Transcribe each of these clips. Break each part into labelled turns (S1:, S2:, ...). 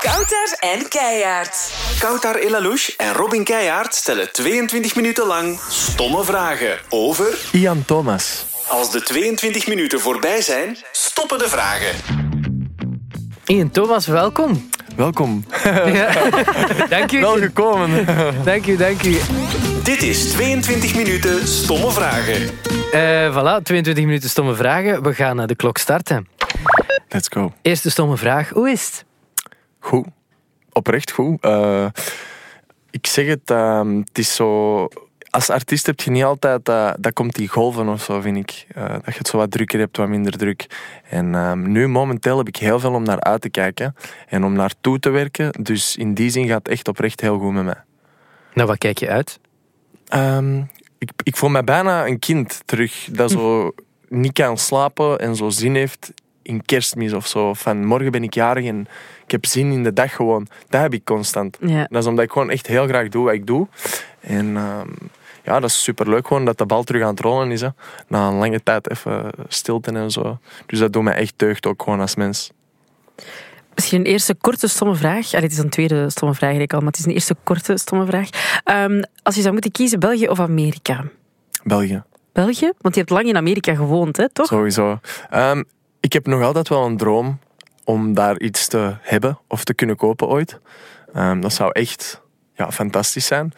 S1: Kouter en Keijaard.
S2: Koutar Elalouche en Robin Keijaard stellen 22 minuten lang stomme vragen over...
S3: Ian Thomas.
S2: Als de 22 minuten voorbij zijn, stoppen de vragen.
S4: Ian Thomas, welkom.
S3: Welkom.
S4: Ja. dank u,
S3: Wel gekomen.
S4: dank u, dank u.
S2: Dit is 22 minuten stomme vragen.
S4: Eh, voilà, 22 minuten stomme vragen. We gaan eh, de klok starten.
S3: Let's go.
S4: Eerste stomme vraag, hoe is het?
S3: Goed. Oprecht goed. Eh, ik zeg het, ehm, het is zo... Als artiest heb je niet altijd... dat dat komt die golven of zo, vind ik. Eh, dat je het zo wat drukker hebt, wat minder druk. En ehm, nu, momenteel, heb ik heel veel om naar uit te kijken. En om naartoe te werken. Dus in die zin gaat het echt oprecht heel goed met mij.
S4: Nou, wat kijk je uit?
S3: Ehm, ik, ik voel mij bijna een kind terug dat zo niet kan slapen en zo zin heeft in kerstmis of zo. Van morgen ben ik jarig en ik heb zin in de dag gewoon. Dat heb ik constant.
S5: Ja.
S3: Dat is omdat ik gewoon echt heel graag doe wat ik doe. En ehm, ja, dat is superleuk gewoon dat de bal terug aan het rollen is. Hè. Na een lange tijd even stilte en zo. Dus dat doet mij echt deugd ook gewoon als mens.
S5: Misschien een eerste korte stomme vraag. Allee, het is een tweede stomme vraag eigenlijk al, maar het is een eerste korte stomme vraag. Ehm, als je zou moeten kiezen, België of Amerika?
S3: België.
S5: België? Want je hebt lang in Amerika gewoond, hè, toch?
S3: Sowieso. Ehm, ik heb nog altijd wel een droom om daar iets te hebben of te kunnen kopen ooit. Ehm, dat zou echt ja, fantastisch zijn.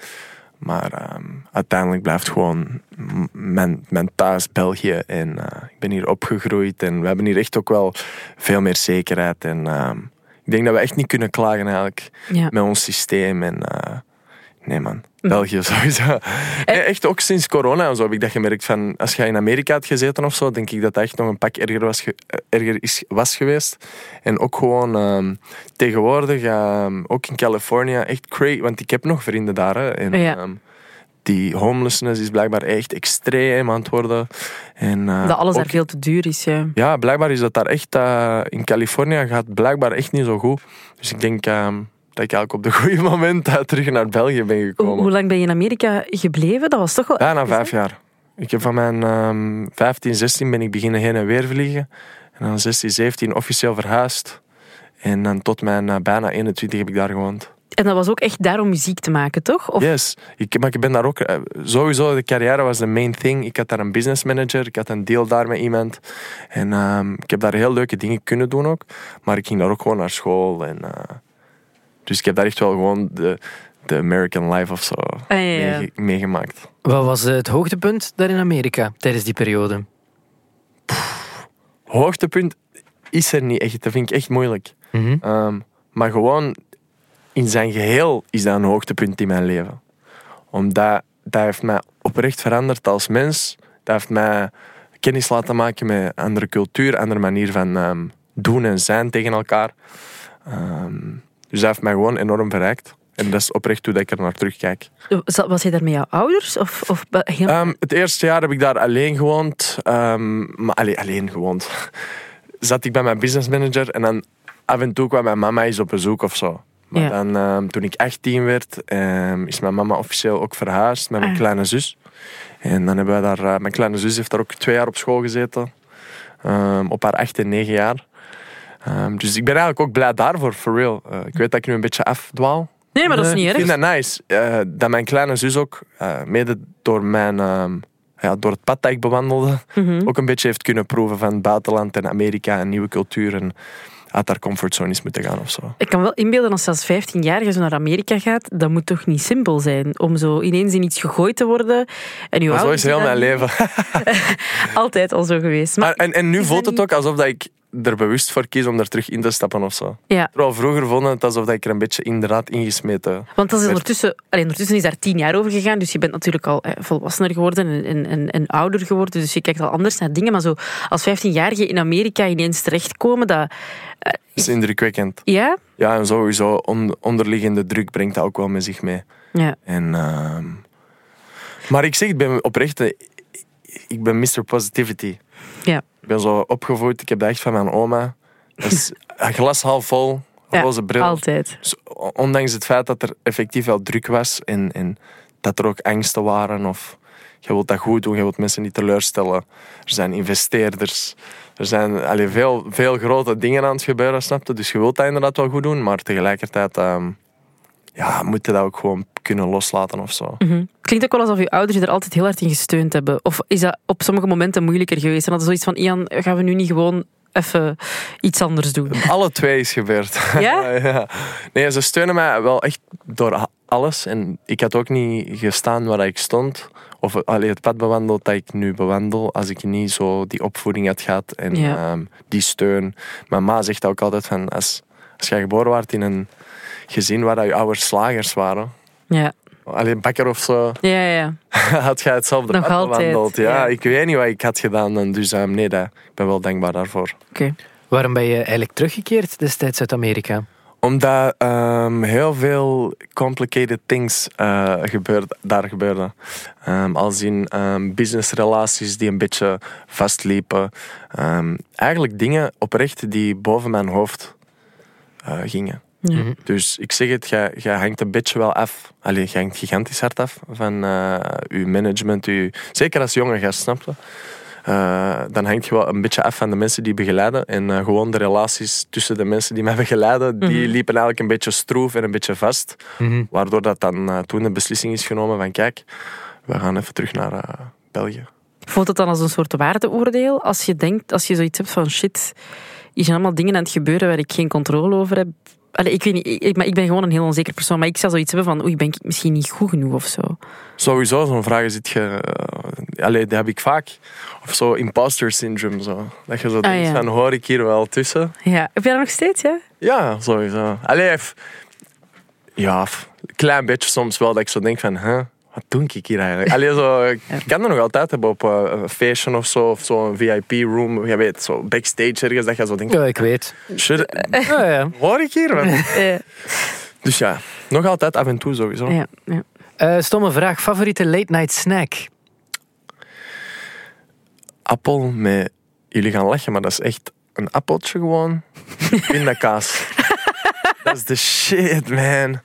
S3: Maar ehm, uiteindelijk blijft gewoon m- mijn, mijn thuis België. En eh, ik ben hier opgegroeid en we hebben hier echt ook wel veel meer zekerheid. En ehm, ik denk dat we echt niet kunnen klagen eigenlijk
S5: Ja. Hm.
S3: met ons systeem. En, eh, nee man, België sowieso. Nee, echt ook sinds corona en zo heb ik dat gemerkt. Van, als je in Amerika had gezeten of zo, denk ik dat dat echt nog een pak erger was, ge- eh, erger is, was geweest. En ook gewoon ehm, tegenwoordig, ehm, ook in Californië, echt crazy. Want ik heb nog vrienden daar. Hè, en,
S5: Ja.
S3: ehm, die homelessness is blijkbaar echt extreem aan het worden. En, eh,
S5: Dat alles
S3: ook-
S5: daar veel te duur is, ja.
S3: ja, blijkbaar is dat daar echt... eh, in Californië gaat blijkbaar echt niet zo goed. Dus ik denk ehm, dat ik eigenlijk op de goede moment eh, terug naar België ben
S5: Hoe,
S3: gekomen.
S5: hoe lang ben je in Amerika gebleven? Dat was toch wel...
S3: Bijna vijf jaar. Ik heb van mijn ehm 15, 16 ben ik beginnen heen en weer vliegen. En dan 16, 17 officieel verhuisd. En dan tot mijn eh, bijna 21 heb ik daar gewoond.
S5: En dat was ook echt daar om muziek te maken, toch? Of...
S3: Yes, ik, maar ik ben daar ook... eh, sowieso, de carrière was de main thing. Ik had daar een business manager, ik had een deal daar met iemand. En ehm, ik heb daar heel leuke dingen kunnen doen ook. Maar ik ging daar ook gewoon naar school. En, eh, dus ik heb daar echt wel gewoon de, de American life of zo
S5: Ah, ja, ja.
S3: meege- meegemaakt.
S4: Wat was eh, het hoogtepunt daar in Amerika tijdens die periode?
S3: hoogtepunt is er niet echt. Dat vind ik echt moeilijk.
S4: Mhm.
S3: Ehm, maar gewoon in zijn geheel is dat een hoogtepunt in mijn leven. Omdat dat heeft mij oprecht veranderd als mens. Dat heeft mij kennis laten maken met andere cultuur, andere manier van ehm, doen en zijn tegen elkaar. Ehm, dus dat heeft mij gewoon enorm verrijkt. En dat is oprecht hoe dat ik er naar terugkijk.
S5: Zat- Was je daar met jouw ouders? Of, of be- heel...
S3: Ehm, het eerste jaar heb ik daar alleen gewoond. Ehm, maar allee, alleen gewoond. Zat ik bij mijn business manager en dan af en toe kwam mijn mama eens op bezoek of zo. Maar
S5: Ja.
S3: dan, ehm, toen ik 18 werd, ehm, is mijn mama officieel ook verhuisd met mijn
S5: Ah.
S3: kleine zus. En dan hebben we daar, eh, mijn kleine zus heeft daar ook twee jaar op school gezeten. Ehm, op haar 8 en 9 jaar. Ehm, dus ik ben eigenlijk ook blij daarvoor, for real. Eh, ik weet dat ik nu een beetje afdwaal.
S5: nee, maar dat is niet
S3: Ik
S5: erg.
S3: vind dat nice. eh, dat mijn kleine zus ook, eh, mede door, mijn, ehm, ja, door het pad dat ik bewandelde,
S5: Mhm.
S3: ook een beetje heeft kunnen proeven van het buitenland en Amerika en nieuwe cultuur. En uit haar comfortzone is moeten gaan of zo.
S5: Ik kan wel inbeelden als je als 15-jarige zo naar Amerika gaat, dat moet toch niet simpel zijn om zo ineens in iets gegooid te worden. En uw
S3: Maar zo
S5: ouders
S3: is heel
S5: die
S3: mijn
S5: daar
S3: leven.
S5: Altijd al zo geweest. Maar,
S3: Maar, en, en nu
S5: is
S3: voelt
S5: dat
S3: het ook alsof dat ik er bewust voor kies om er terug in te stappen of zo.
S5: ja,
S3: Terwijl vroeger vond het alsof dat ik er een beetje inderdaad ingesmeten.
S5: want dat is ondertussen, allee, ondertussen is daar tien jaar over gegaan, dus je bent natuurlijk al eh, volwassener geworden en, en, en, en ouder geworden, dus je kijkt al anders naar dingen. Maar zo als 15-jarige in Amerika ineens terechtkomen, dat...
S3: Dat is indrukwekkend.
S5: Ja?
S3: Ja, en sowieso on- onderliggende druk brengt dat ook wel met zich mee.
S5: Ja.
S3: En, ehm, maar ik zeg, ik ben oprecht, eh, ik ben Mr. Positivity.
S5: Ja.
S3: Ik ben zo opgevoed, ik heb dat echt van mijn oma. Dat is een glas half vol,
S5: Ja,
S3: roze bril.
S5: Altijd.
S3: Dus o- ondanks het feit dat er effectief wel druk was en, en dat er ook angsten waren of je wilt dat goed doen, je wilt mensen niet teleurstellen. Er zijn investeerders, Er zijn allee, veel, veel grote dingen aan het gebeuren, snap je? Dus je wilt dat inderdaad wel goed doen, maar tegelijkertijd ehm, ja, moet je dat ook gewoon kunnen loslaten of zo.
S5: Mhm. Klinkt ook wel alsof je ouders je er altijd heel hard in gesteund hebben. Of is dat op sommige momenten moeilijker geweest? En dat is zoiets van, Ian, gaan we nu niet gewoon even iets anders doen?
S3: Alle twee is gebeurd.
S5: Ja?
S3: ja. Nee, ze steunen mij wel echt door a- alles. En ik had ook niet gestaan waar ik stond. Of allee, het pad bewandeld dat ik nu bewandel. Als ik niet zo die opvoeding had gehad en
S5: Ja.
S3: ehm, die steun. Mijn ma zegt ook altijd van... Als, als jij geboren werd in een gezin waar dat je ouders slagers waren...
S5: Ja,
S3: Alleen bakker of zo,
S5: ja, ja. ja.
S3: had jij hetzelfde
S5: Nog
S3: pad
S5: altijd,
S3: bewandeld. Ja,
S5: ja.
S3: ik weet niet wat ik had gedaan. En dus ehm, nee, dat, ik ben wel dankbaar daarvoor.
S5: Oké.
S4: Waarom ben je eigenlijk teruggekeerd destijds uit Amerika?
S3: Omdat ehm, heel veel complicated things eh, gebeurd, daar gebeurden. Ehm, als in ehm, businessrelaties die een beetje vastliepen. Ehm, eigenlijk dingen oprecht die boven mijn hoofd eh, gingen.
S5: Ja.
S4: Mhm.
S3: Dus ik zeg het, jij, jij hangt een beetje wel af. Allee, jij hangt gigantisch hard af van eh uw management. Uw, zeker als jonge gast, snap je? Eh, dan hangt je wel een beetje af van de mensen die begeleiden. En eh, gewoon de relaties tussen de mensen die mij begeleiden, die liepen eigenlijk een beetje stroef en een beetje vast.
S4: Mhm.
S3: Waardoor dat dan eh, toen de beslissing is genomen van kijk, we gaan even terug naar eh, België.
S5: Voelt het dan als een soort waardeoordeel? Als je denkt, als je zoiets hebt van shit, hier zijn allemaal dingen aan het gebeuren waar ik geen controle over heb. Allee, ik weet niet, ik, maar ik ben gewoon een heel onzeker persoon. Maar ik zou zoiets hebben van, oei, ben ik misschien niet goed genoeg of zo.
S3: Sowieso, zo'n vraag zit je... eh, allee, die heb ik vaak. Of zo, imposter syndrome. Zo. Dat je zo denkt
S5: ja.
S3: van, hoor ik hier wel tussen?
S5: Ja, heb jij dat nog steeds, ja?
S3: Ja, sowieso. Allee, f- ja, f- een klein beetje soms wel dat ik zo denk van, huh, wat doe ik hier eigenlijk? Allee, zo, ik kan dat nog altijd hebben op eh, een feestje of zo, of zo'n VIP-room, je weet, zo backstage ergens, dat je zo denkt,
S4: Ja, ik weet.
S3: shit,
S4: Ja, ja.
S3: hoor ik hier? wat?
S5: Eh,
S3: Dus ja, nog altijd af en toe sowieso.
S5: ja, ja.
S4: Eh, stomme vraag. Favoriete late night snack?
S3: Appel met, jullie gaan lachen, maar dat is echt een appeltje gewoon, pindakaas. dat is de shit, man.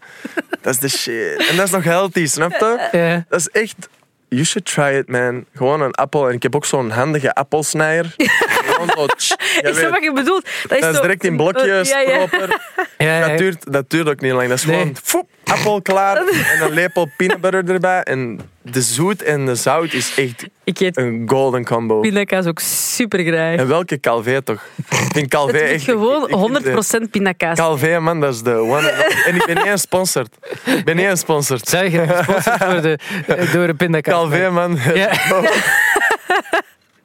S3: Dat is de shit. En dat is nog healthy, snap je?
S4: Eh,
S3: Dat is echt. You should try it, man. Gewoon een appel. En ik heb ook zo'n handige appelsnijer. Gewoon zo, tsch, jij
S5: Ik snap
S3: weet,
S5: wat je bedoelt. Dat is,
S3: dat is
S5: zo-
S3: direct in blokjes,
S5: Ja, ja.
S3: proper.
S4: ja, ja.
S3: Dat duurt, dat duurt ook niet lang. Dat is
S4: Nee.
S3: gewoon foep, appel klaar. En een lepel peanut butter erbij. En de zoet en de zout is echt
S5: Ik eet
S3: een golden combo.
S5: pindakaas ook super graag.
S3: En welke Calvé toch? Ik vind Calvé
S5: Het moet
S3: echt... ik- ik- ik-
S5: gewoon 100% pindakaas.
S3: Calvé, man, dat is de one. and only. En ik ben niet eens sponsored. Ik ben niet eens sponsored.
S4: Zou je graag gesponsord worden eh, door een pindakaas?
S3: Calvé, man.
S4: Ja.
S3: Oh.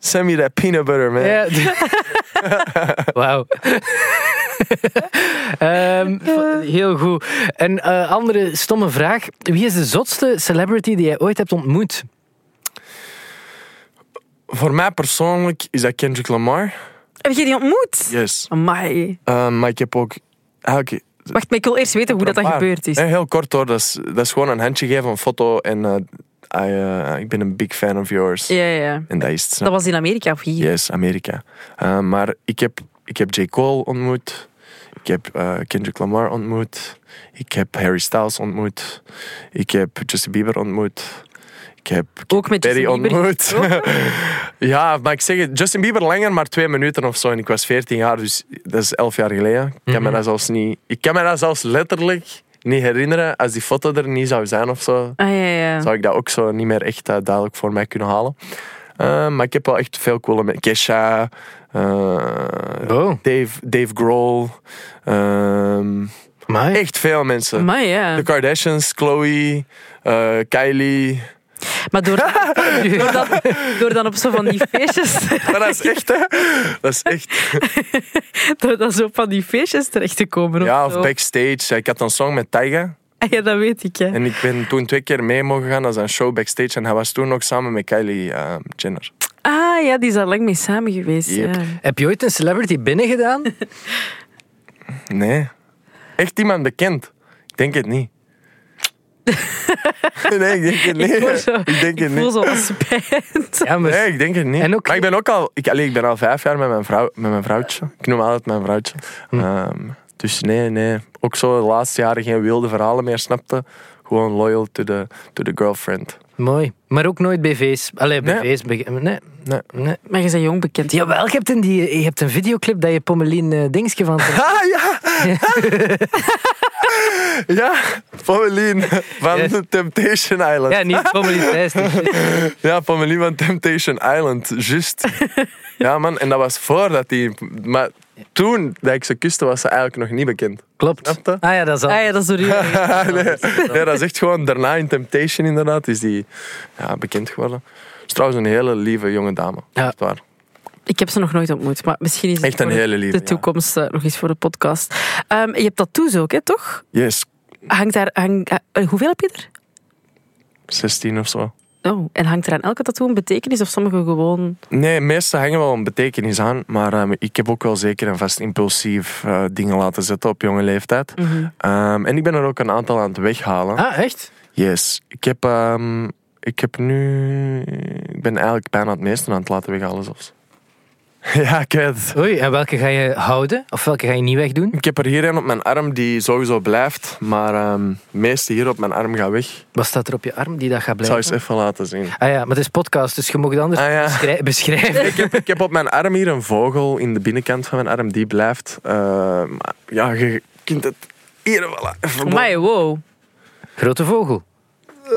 S3: Send me that peanut butter, man.
S4: Ja. Eh, Wauw. Ehm, v- heel goed. Een eh, andere stomme vraag. Wie is de zotste celebrity die jij ooit hebt ontmoet?
S3: Voor mij persoonlijk is dat Kendrick Lamar.
S5: Heb je die ontmoet?
S3: Yes.
S5: Amai.
S3: maar ik heb ook... Eigenlijk,
S5: Wacht, maar ik wil eerst weten hoe dat, dat
S3: maar-
S5: gebeurd is.
S3: Nee, Eh, heel kort hoor. Dat is, dat is gewoon een handje geven, een foto. En eh, I, eh, ik ben een big fan of yours.
S5: Ja, ja.
S3: En dat is het. snap
S5: Dat was in Amerika of hier?
S3: Yes, Amerika. Eh, maar ik heb, ik heb J. Cole ontmoet. Ik heb eh, Kendrick Lamar ontmoet. Ik heb Harry Styles ontmoet. Ik heb Justin Bieber ontmoet. Ik heb
S5: Ook met
S3: Perry
S5: Justin Bieber Ah,
S3: ontmoet. ja, maar ik zeg het, Justin Bieber langer, maar twee minuten of zo. En ik was 14 jaar, dus dat is elf jaar geleden. Ik kan
S5: Mhm.
S3: me dat zelfs niet... Ik kan me dat zelfs letterlijk niet herinneren. Als die foto er niet zou zijn of zo,
S5: Ah, ja, ja.
S3: zou ik dat ook zo niet meer echt eh, duidelijk voor mij kunnen halen. Eh, maar ik heb wel echt veel coole met Kesha, eh,
S4: Oh,
S3: Dave, Dave Grohl, ehm,
S4: maar
S3: echt veel mensen.
S5: Maar ja.
S3: De Kardashians, Chloe, eh, Kylie.
S5: Maar door, door, dan, door dan op zo van die feestjes,
S3: Maar dat is echt, hè? Dat is echt.
S5: door dan zo op van die feestjes terecht te komen.
S3: Ja,
S5: of
S3: of
S5: zo.
S3: backstage. Ik had een song met Tyga.
S5: Ah, Ja, dat weet ik. Hè.
S3: En ik ben toen twee keer mee mogen gaan als een show backstage. En hij was toen ook samen met Kylie eh, Jenner.
S5: Ah ja, die is daar lang mee samen geweest.
S3: Yep.
S5: Ja.
S4: heb je ooit een celebrity binnengedaan?
S3: Nee. Echt iemand bekend? Ik denk het niet. nee, ik denk het niet.
S5: Ik, hoor zo,
S3: Ik denk het
S5: voel
S3: niet.
S5: zo wat spijt.
S4: Ja, maar
S3: Nee, ik denk het niet.
S4: En ook-
S3: Maar ik ben ook al... Ik, allee, ik ben al vijf jaar met mijn, vrouw, met mijn vrouwtje. Ik noem altijd mijn vrouwtje.
S5: Hm.
S3: Ehm, dus nee, nee. Ook zo de laatste jaren geen wilde verhalen meer snapte. Gewoon loyal to the, to the girlfriend.
S4: Mooi. Maar ook nooit BV's. Allee,
S3: Nee.
S4: BV's. beg- Nee, nee, nee.
S5: Maar je bent jong bekend.
S4: Jawel, je hebt, in die, je hebt een videoclip dat je Pommelien eh, Dingske van...
S3: Ah, ja! ja, Pommelien van
S4: Yes.
S3: Temptation Island.
S4: Ja, niet Pommelien Thijs. die shit.
S3: Ja, Pommelien van Temptation Island, juist. ja, man, en dat was voordat die... Maar toen dat ik ze kuste, was ze eigenlijk nog niet bekend.
S4: Klopt.
S3: Snap je?
S4: Ah ja, dat is al.
S5: Ah ja, dat is door u.
S3: nee, dat is echt gewoon daarna in Temptation inderdaad, is die ja, bekend geworden. Is trouwens een hele lieve jonge dame.
S4: Ja.
S3: Echt waar.
S5: Ik heb ze nog nooit ontmoet, maar misschien is het
S3: Echt een
S5: voor
S3: hele lieve,
S5: de
S3: ja.
S5: toekomst eh, nog eens voor de podcast. Ehm, je hebt tattoos ook, hè, toch?
S3: Yes,
S5: Hangt daar, hang, eh, hoeveel heb je er?
S3: 16 of zo.
S5: Oh, en hangt er aan elke tattoo een betekenis of sommige gewoon...
S3: Nee, meeste hangen wel een betekenis aan, maar ehm, ik heb ook wel zeker en vast impulsief eh, dingen laten zetten op jonge leeftijd. Ehm, en ik ben er ook een aantal aan het weghalen.
S4: Ah, echt?
S3: Yes. Ik heb, ehm, ik heb nu... Ik ben eigenlijk bijna het meeste aan het laten weghalen zelfs. ja, ik weet het.
S4: Oei, en welke ga je houden? Of welke ga je niet wegdoen?
S3: Ik heb er hier een op mijn arm die sowieso blijft, maar ehm, het meeste hier op mijn arm gaat weg. Ik
S4: Wat staat er op je arm die dat gaat
S3: zou
S4: blijven?
S3: eens even laten zien.
S4: Ah ja, maar het is podcast, dus je mag het anders
S3: Ah ja.
S4: beschrij- beschrijven.
S3: ik, heb, ik heb op mijn arm hier een vogel in de binnenkant van mijn arm, die blijft. Eh, maar ja, je kunt het hier wel even...
S5: Amai, wow.
S4: Grote vogel.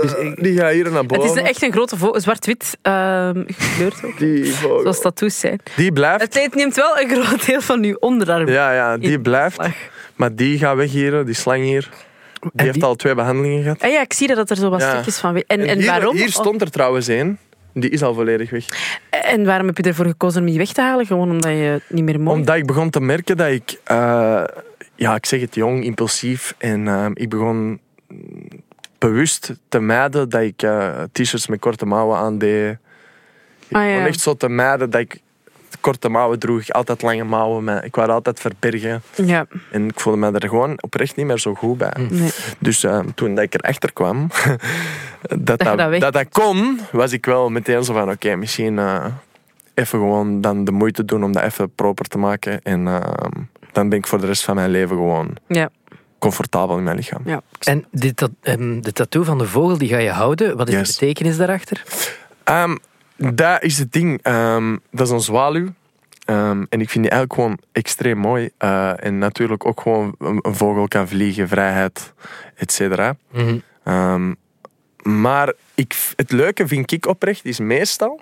S3: Eh, Die gaat hier naar
S5: Het
S3: boven.
S5: is een- echt een grote vogel, zwart-wit ehm gekleurd ook.
S3: Die vogel.
S5: Zoals tattoos zijn.
S3: Die blijft.
S5: Het leed neemt wel een groot deel van uw onderarm.
S3: Ja, ja, die
S5: In-
S3: blijft.
S5: Slag.
S3: Maar die gaat weg hier, die slang hier. Die heeft
S4: die-
S3: al twee behandelingen gehad.
S5: Ah ja, ik zie dat er zo wat
S3: Ja.
S5: stukjes van... we- En, en,
S3: hier,
S5: waarom,
S3: hier stond er trouwens één. Die is al volledig weg.
S5: Oh, en waarom heb je ervoor gekozen om die weg te halen? Gewoon omdat je het niet meer mocht?
S3: Omdat ik begon te merken dat ik... eh, ja, ik zeg het jong, impulsief. En eh, ik begon mm, bewust te mijden dat ik eh, t-shirts met korte mouwen aandeed. Ik
S5: Ah, ja.
S3: begon echt zo te mijden dat ik korte mouwen droeg. Altijd lange mouwen. maar Ik wou dat altijd verbergen.
S5: Ja,
S3: En ik voelde me er gewoon oprecht niet meer zo goed bij.
S5: nee.
S3: Dus eh, toen dat ik erachter kwam dat
S5: je
S3: dat,
S5: dat weg-
S3: dat, dat kon, was ik wel meteen zo van: oké, misschien eh, even gewoon dan de moeite doen om dat even proper te maken. En eh, dan ben ik voor de rest van mijn leven gewoon
S5: Ja,
S3: comfortabel in mijn lichaam.
S5: ja. Ik
S4: En dit, dat, ehm, de tattoo van de vogel, die ga je houden. Wat is
S3: Yes.
S4: de betekenis daarachter?
S3: Ehm, dat is het ding. Ehm, dat is een zwaluw. Ehm, en ik vind die eigenlijk gewoon extreem mooi. Eh, en natuurlijk ook gewoon een, een vogel kan vliegen, vrijheid, et cetera.
S4: Mhm.
S3: Ehm, maar ik, het leuke vind ik oprecht is meestal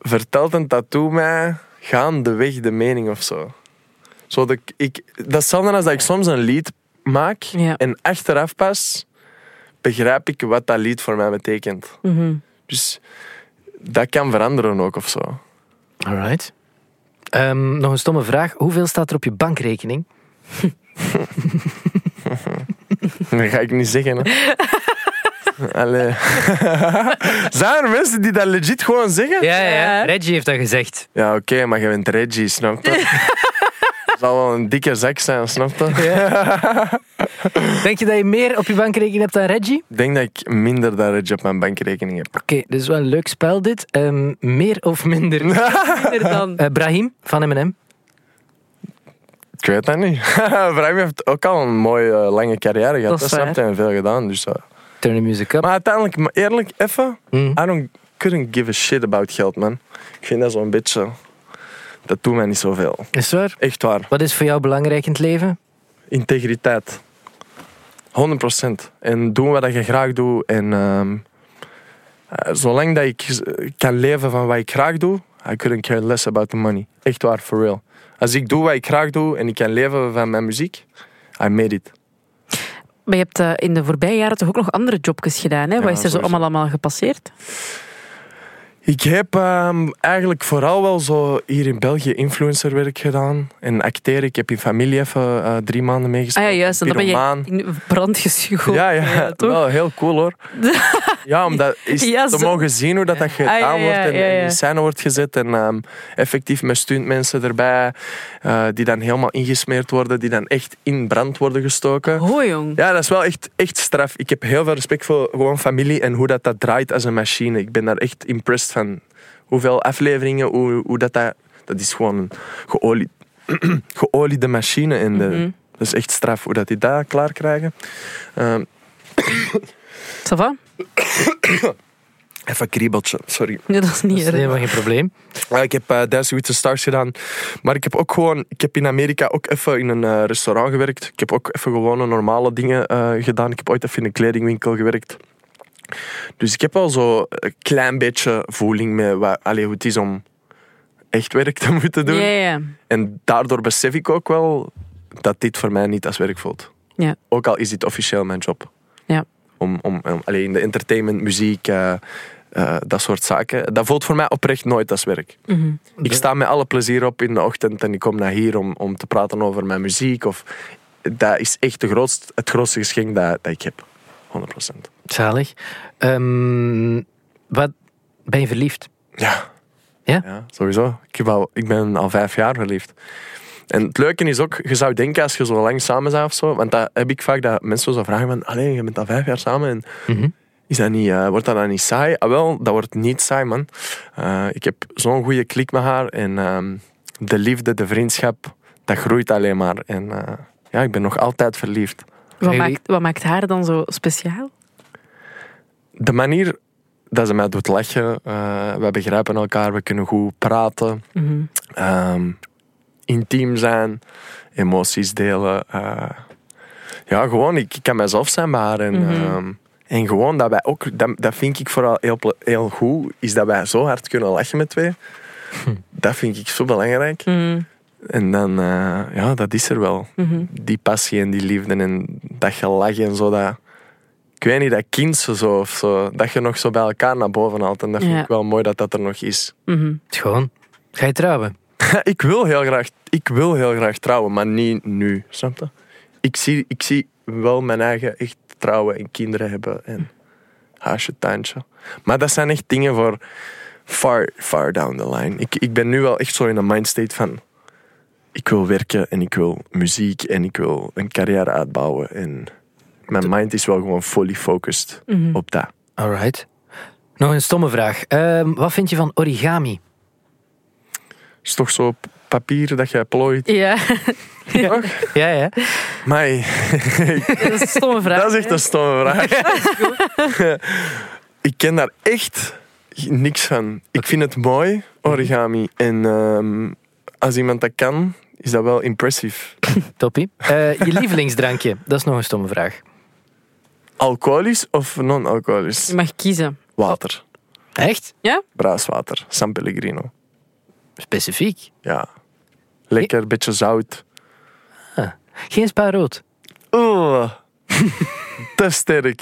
S3: vertelt een tattoo mij gaandeweg de mening of zo. zo dat, ik- ik, dat is hetzelfde als dat ik soms een lied maak
S5: Ja.
S3: en achteraf pas begrijp ik wat dat lied voor mij betekent.
S5: Mhm.
S3: Dus dat kan veranderen ook of zo.
S4: Alright. Ehm, nog een stomme vraag. Hoeveel staat er op je bankrekening?
S3: Dat ga ik niet zeggen. Hè. Allee. Zijn er mensen die dat legit gewoon zeggen?
S4: Ja, ja,
S5: ja.
S4: Reggie heeft dat gezegd.
S3: Ja, oké, maar je bent Reggie, snap je? Het zal wel een dikke zak zijn, snap je?
S4: Denk je dat je meer op je bankrekening hebt dan Reggie?
S3: Ik denk dat ik minder dan Reggie op mijn bankrekening heb.
S4: Oké, dit is wel een leuk spel dit. Ehm, meer of minder?
S5: vind er dan...
S4: Eh, Brahim van M&M.
S3: Ik weet dat niet. Vrij heeft ook al een mooie eh, lange carrière gehad. Dat
S5: Dat is
S3: snap je
S5: waar.
S3: en veel gedaan. Dus, eh.
S4: Turn the music up.
S3: Maar uiteindelijk, maar eerlijk, even.
S4: Mm.
S3: I don't couldn't give a shit about geld, man. Ik vind dat zo'n beetje. Dat doet mij niet zoveel.
S4: Is het waar?
S3: Echt waar.
S4: Wat is voor jou belangrijk in het leven?
S3: Integriteit. 100%. En doen wat je graag doet. En ehm, eh, zolang dat ik eh, kan leven van wat ik graag doe, I couldn't care less about the money. Echt waar, for real. Als ik doe wat ik graag doe en ik kan leven van mijn muziek, I made it.
S5: Maar je hebt eh, in de voorbije jaren toch ook nog andere jobjes gedaan, hè?
S3: Ja,
S5: Wat is er zo
S3: sowieso.
S5: allemaal, allemaal gepasseerd?
S3: Ik heb ehm, eigenlijk vooral wel zo hier in België influencerwerk gedaan. En acteren. Ik heb in familie even eh, drie maanden
S5: Ah
S3: meegespeeld.
S5: ja, juist. En dan ben je
S3: Pyromaan.
S5: in brand geschoten.
S3: Ja, ja,
S5: toch?
S3: wel heel cool hoor. ja, om dat is
S5: Ja,
S3: te
S5: zo. Ah,
S3: mogen zien hoe dat, dat gedaan
S5: ja, ja,
S3: wordt en
S5: ja, ja.
S3: en in scène wordt gezet. En ehm, effectief met stuntmensen erbij, eh, die dan helemaal ingesmeerd worden, die dan echt in brand worden gestoken.
S5: Ho, jong.
S3: Ja, dat is wel echt, echt straf. Ik heb heel veel respect voor gewoon familie en hoe dat, dat draait als een machine. Ik ben daar echt impressed van. Hoeveel afleveringen, hoe, hoe dat, dat... Dat is gewoon een geolie, eh,
S5: Mhm.
S3: geoliede machine. En de, Dat is echt straf hoe dat die dat klaar krijgen. Ehm,
S5: Ça va?
S3: Even een kriebeltje, sorry.
S5: Nee, dat is
S4: Dat
S5: niet
S4: is
S5: erg.
S4: helemaal geen probleem.
S3: Ja, ik heb eh Dancing with the Stars gedaan. Maar ik heb ook gewoon... Ik heb in Amerika ook even in een eh, restaurant gewerkt. Ik heb ook even gewone normale dingen eh, gedaan. Ik heb ooit even in een kledingwinkel gewerkt. Dus ik heb wel zo een klein beetje voeling met wat, allee, hoe het is om echt werk te moeten doen.
S5: Ja, ja.
S3: En daardoor besef ik ook wel dat dit voor mij niet als werk voelt.
S5: Ja.
S3: Ook al is dit officieel mijn job.
S5: Ja.
S3: Om, om, om- alleen in de entertainment, muziek, eh, eh, dat soort zaken. Dat voelt voor mij oprecht nooit als werk.
S5: Mhm.
S3: Ik sta met alle plezier op in de ochtend en ik kom naar hier om, om te praten over mijn muziek. Of, dat is echt de grootst, het grootste geschenk dat, dat ik heb. 100%.
S4: Zalig. Ehm, wat, ben je verliefd?
S3: Ja.
S4: Ja?
S3: sowieso. Ik, heb al, ik ben al vijf jaar verliefd. En het leuke is ook, je zou denken als je zo lang samen bent of zo, want dat heb ik vaak dat mensen zo vragen van, alleen je bent al vijf jaar samen en
S4: Mhm.
S3: is dat niet, eh, wordt dat dan niet saai? Ah, wel, dat wordt niet saai, man. Eh, ik heb zo'n goede klik met haar en ehm, de liefde, de vriendschap, dat groeit alleen maar. En eh, ja, ik ben nog altijd verliefd.
S5: Wat,
S4: Jullie-
S5: maakt, wat maakt haar dan zo speciaal?
S3: de manier dat ze mij doet lachen, eh we begrijpen elkaar, we kunnen goed praten,
S5: Mhm.
S3: ehm, intiem zijn, emoties delen. eh, ja, gewoon, ik, ik kan mezelf zijn bij haar. En,
S5: Mhm.
S3: ehm, en gewoon dat wij ook, dat, dat vind ik vooral heel, ple- heel goed, is dat wij zo hard kunnen lachen met twee. Dat vind ik zo belangrijk.
S5: Mhm.
S3: En dan, eh, ja, dat is er wel.
S5: Mhm.
S3: Die passie en die liefde en dat gelach en zo. Dat, ik weet niet, dat kindse zo of zo. Dat je nog zo bij elkaar naar boven haalt. En dat vind
S5: Ja.
S3: ik wel mooi dat dat er nog is.
S5: Mhm.
S4: Schoon. Ga je trouwen?
S3: ik, wil heel graag, ik wil heel graag trouwen, maar niet nu. Snap je? Ik zie, ik zie wel mijn eigen echt trouwen en kinderen hebben. En haasje, tuintje. Maar dat zijn echt dingen voor far, far down the line. Ik, ik ben nu wel echt zo in een mindstate van... Ik wil werken en ik wil muziek en ik wil een carrière uitbouwen. En mijn mind is wel gewoon fully focused
S5: Mhm.
S3: op dat.
S4: Alright. Nog een stomme vraag. Ehm, wat vind je van origami?
S3: Het is toch zo papier dat jij plooit.
S5: Ja,
S4: Ja, ja.
S3: Maar
S5: dat is een stomme vraag.
S3: dat is echt een stomme vraag. ik ken daar echt niks van. Ik vind het mooi, origami. En ehm, als iemand dat kan, is dat wel impressief.
S4: Toppie. Eh, je lievelingsdrankje? Dat is nog een stomme vraag.
S3: Alcoholisch of non-alcoholisch?
S5: Je mag kiezen.
S3: Water.
S4: Echt?
S3: Braaswater. San Pellegrino.
S4: Specifiek.
S3: Ja. Lekker, beetje zout.
S4: Geen spa rood.
S3: Oh. Te sterk.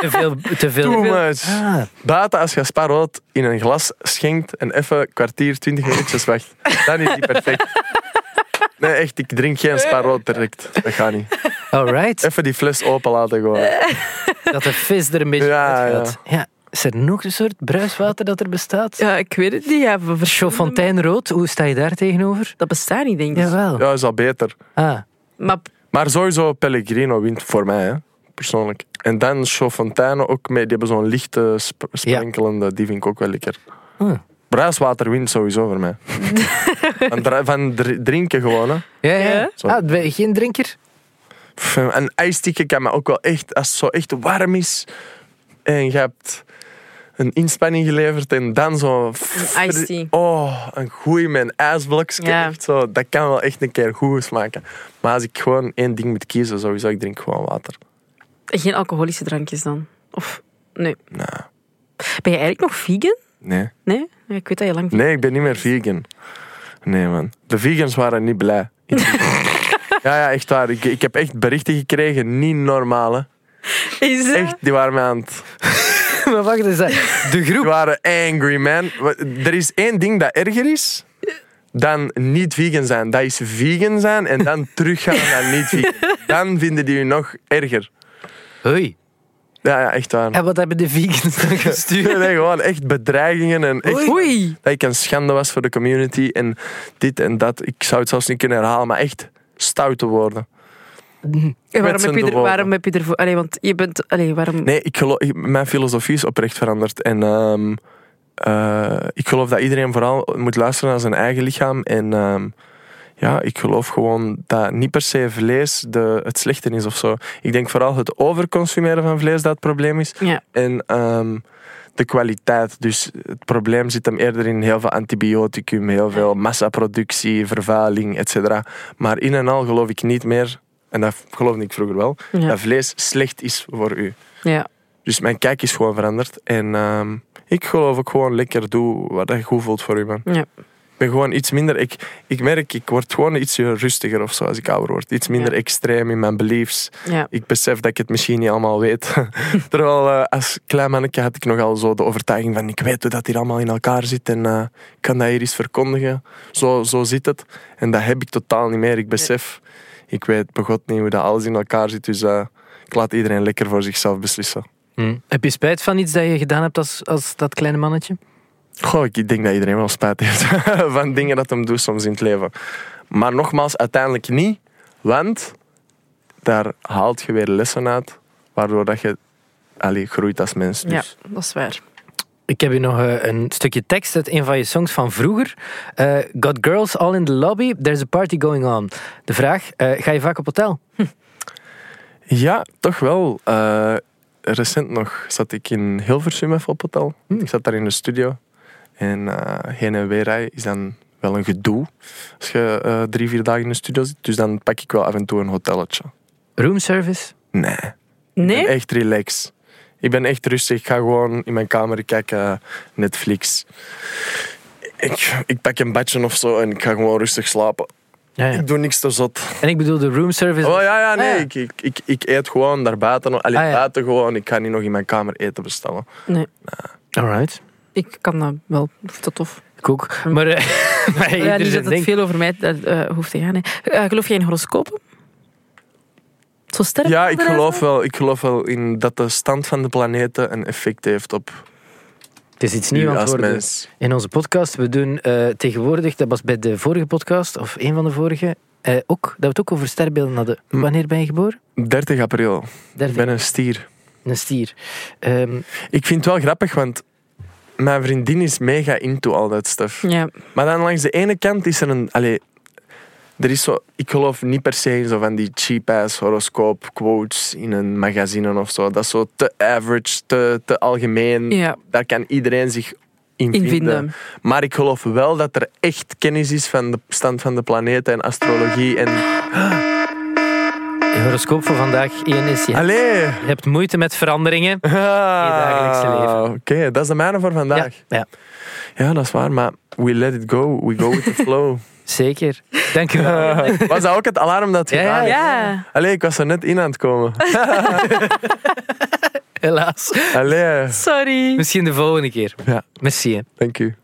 S4: Te veel. Te veel.
S3: Too much.
S4: Ah,
S3: Buiten als je spaarrood in een glas schenkt en even een kwartier, twintig minuutjes wacht. Dan is die perfect. Nee, echt, ik drink geen spaarrood direct. Dat gaat niet.
S4: alright.
S3: Even die fles open laten gewoon.
S4: Dat de vis er een beetje
S3: Ja,
S4: uit gaat. Ja. Is er nog een soort bruiswater dat er bestaat?
S5: Ja, ik weet het niet. Ja, we ver-
S4: Chauffontijnrood, hoe sta je daar tegenover?
S5: dat bestaat niet, denk ik.
S4: Jawel.
S3: Ja, is al beter.
S4: Ah,
S5: Maar
S3: Maar sowieso Pellegrino wint voor mij, hè. persoonlijk. En dan Chauffontaine ook mee. Die hebben zo'n lichte sp- sprenkelende. Die vind ik ook wel lekker.
S4: Hm.
S3: Bruiswater wint sowieso voor mij. van, dra- van dr- drinken gewoon, hè.
S4: ja, ja.
S5: Ja?
S4: Ah, ben je geen drinker?
S3: Pff, Een ijstikken kan me ook wel echt, als het zo echt warm is en je hebt een inspanning geleverd en dan zo...
S5: Een iced tea.
S3: Oh, een goeie met een ijsblokje.
S5: Ja.
S3: Echt zo, dat kan wel echt een keer goed smaken. Maar als ik gewoon één ding moet kiezen, sowieso, ik drink gewoon water.
S5: geen alcoholische drankjes dan? Of, nee.
S3: Nou,
S5: Ben je eigenlijk nog vegan?
S3: nee.
S5: Nee? Ja, Ik weet dat je lang...
S3: Nee, ik ben niet meer vegan. Nee, man. De vegans waren niet blij. ja, ja, echt waar. Ik, ik heb echt berichten gekregen, niet normaal. hè.
S5: Is dat-
S3: Echt, die waren mij aan het...
S4: maar wacht eens. hè. De groep.
S3: Die waren angry, man. Wa- Er is één ding dat erger is dan niet vegan zijn. Dat is vegan zijn en dan teruggaan naar niet vegan. Dan vinden die je nog erger.
S4: Hoi.
S3: Ja, ja echt waar.
S4: En wat hebben de vegans dan gestuurd?
S3: Nee, gewoon echt bedreigingen en echt
S5: Oei.
S3: dat ik een schande was voor de community en dit en dat. Ik zou het zelfs niet kunnen herhalen, maar echt stoute woorden.
S5: En
S3: Met
S5: waarom,
S3: z'n
S5: heb je er,
S3: bevolking.
S5: waarom heb je ervoor... Allee, want je bent... Allee, waarom...
S3: Nee, ik geloof, ik- mijn filosofie is oprecht veranderd. En ehm, eh, ik geloof dat iedereen vooral moet luisteren naar zijn eigen lichaam. En ehm, ja, ik geloof gewoon dat niet per se vlees de, het slechte is of zo. Ik denk vooral het overconsumeren van vlees dat het probleem is.
S5: Ja.
S3: En ehm, de kwaliteit. Dus het probleem zit hem eerder in heel veel antibioticum, heel veel massaproductie, vervuiling, et cetera. Maar in en al geloof ik niet meer, en dat geloofde ik vroeger wel,
S5: Ja.
S3: dat vlees slecht is voor u.
S5: Ja.
S3: Dus mijn kijk is gewoon veranderd. En ehm, ik geloof ook gewoon lekker doe wat je goed voelt voor u, man.
S5: Ja.
S3: Ik ben gewoon iets minder... Ik, ik merk, ik word gewoon iets rustiger of zo als ik ouder word. Iets minder
S5: Ja.
S3: extreem in mijn beliefs.
S5: Ja.
S3: Ik besef dat ik het misschien niet allemaal weet. Terwijl eh, als klein mannetje had ik nogal zo de overtuiging van... Ik weet hoe dat hier allemaal in elkaar zit en eh, ik kan dat hier eens verkondigen. Zo, zo zit het. En dat heb ik totaal niet meer. Ik besef... Ik weet begot niet hoe dat alles in elkaar zit. Dus eh, ik laat iedereen lekker voor zichzelf beslissen.
S4: Hm. Heb je spijt van iets dat je gedaan hebt als, als dat kleine mannetje?
S3: Goh, ik denk dat iedereen wel spijt heeft van dingen dat hem doet soms in het leven. Maar nogmaals, uiteindelijk niet, want daar haalt je weer lessen uit, waardoor dat je allee, groeit als mens.
S5: ja,
S3: Dus.
S5: dat is waar.
S4: Ik heb hier nog eh, een stukje tekst uit een van je songs van vroeger. Eh, Got girls all in the lobby, there's a party going on. De vraag, eh, ga je vaak op hotel?
S3: Ja, toch wel. Eh, recent nog zat ik in Hilversum even op hotel. Ik zat daar in de studio. En eh, heen en weer rijden is dan wel een gedoe als je eh, drie, vier dagen in de studio zit. Dus dan pak ik wel af en toe een hotelletje.
S4: Roomservice?
S3: Nee. Ik
S5: Nee?
S3: ben echt relax. Ik ben echt rustig. Ik ga gewoon in mijn kamer kijken, Netflix. Ik, ik pak een badje of zo en ik ga gewoon rustig slapen.
S4: Ja, ja.
S3: Ik doe niks te zot.
S4: En ik bedoel de roomservice.
S3: Oh ja, ja, nee.
S4: Ah, ja.
S3: Ik, ik, ik, ik eet gewoon daarbuiten. Alleen
S4: Ah, ja.
S3: buiten gewoon. Ik ga niet nog in mijn kamer eten bestellen.
S5: Nee,
S4: Alright.
S5: ik kan dat wel. Ik vind dat tof.
S4: Ik ook. Maar, eh, maar
S5: Ja,
S4: ieder
S5: niet dat
S4: zijn
S5: het
S4: ding.
S5: veel over mij eh, eh, hoeft te gaan. hè. Eh, geloof jij in horoscopen? Zo sterk?
S3: Ja, ik geloof wel, ik geloof wel in dat de stand van de planeten een effect heeft op
S4: Het is iets
S3: u
S4: nieuws aan het
S3: als
S4: worden.
S3: mens.
S4: In onze podcast, we doen eh, tegenwoordig, dat was bij de vorige podcast, of een van de vorige, eh, ook, dat we het ook over sterrenbeelden hadden.
S3: Hm.
S4: Wanneer ben je geboren?
S3: 30 april. Ik
S4: Derde.
S3: ben een stier.
S4: Een stier. Ehm,
S3: Ik vind het wel grappig, want mijn vriendin is mega into al dat stuff.
S5: Ja,
S3: Maar dan langs de ene kant is er een... Allee, er is zo, ik geloof niet per se in zo van die cheap-ass horoscoop quotes in een magazine of zo. Dat is zo te average, te, te algemeen.
S5: ja.
S3: Daar kan iedereen zich in vinden.
S5: invinden.
S3: Maar ik geloof wel dat er echt kennis is van de stand van de planeten en astrologie. En...
S4: je horoscoop voor vandaag één is, Ah. je
S3: Allee!
S4: hebt moeite met veranderingen. dagelijkse leven.
S3: Ah, Oké, dat is de mijne voor
S4: Ja,
S3: vandaag.
S4: ja,
S3: Ja, dat is waar, maar we let it go. We go with the flow.
S4: zeker. Dank u wel.
S3: was dat ook het alarm dat
S4: Ja,
S3: gedaan
S4: ja,
S3: heeft?
S5: Ja.
S3: Allee, ik was er net in aan het komen.
S4: Helaas.
S3: Allee,
S5: Sorry.
S4: Misschien de volgende keer.
S3: Ja.
S4: Merci. hè.
S3: dank u.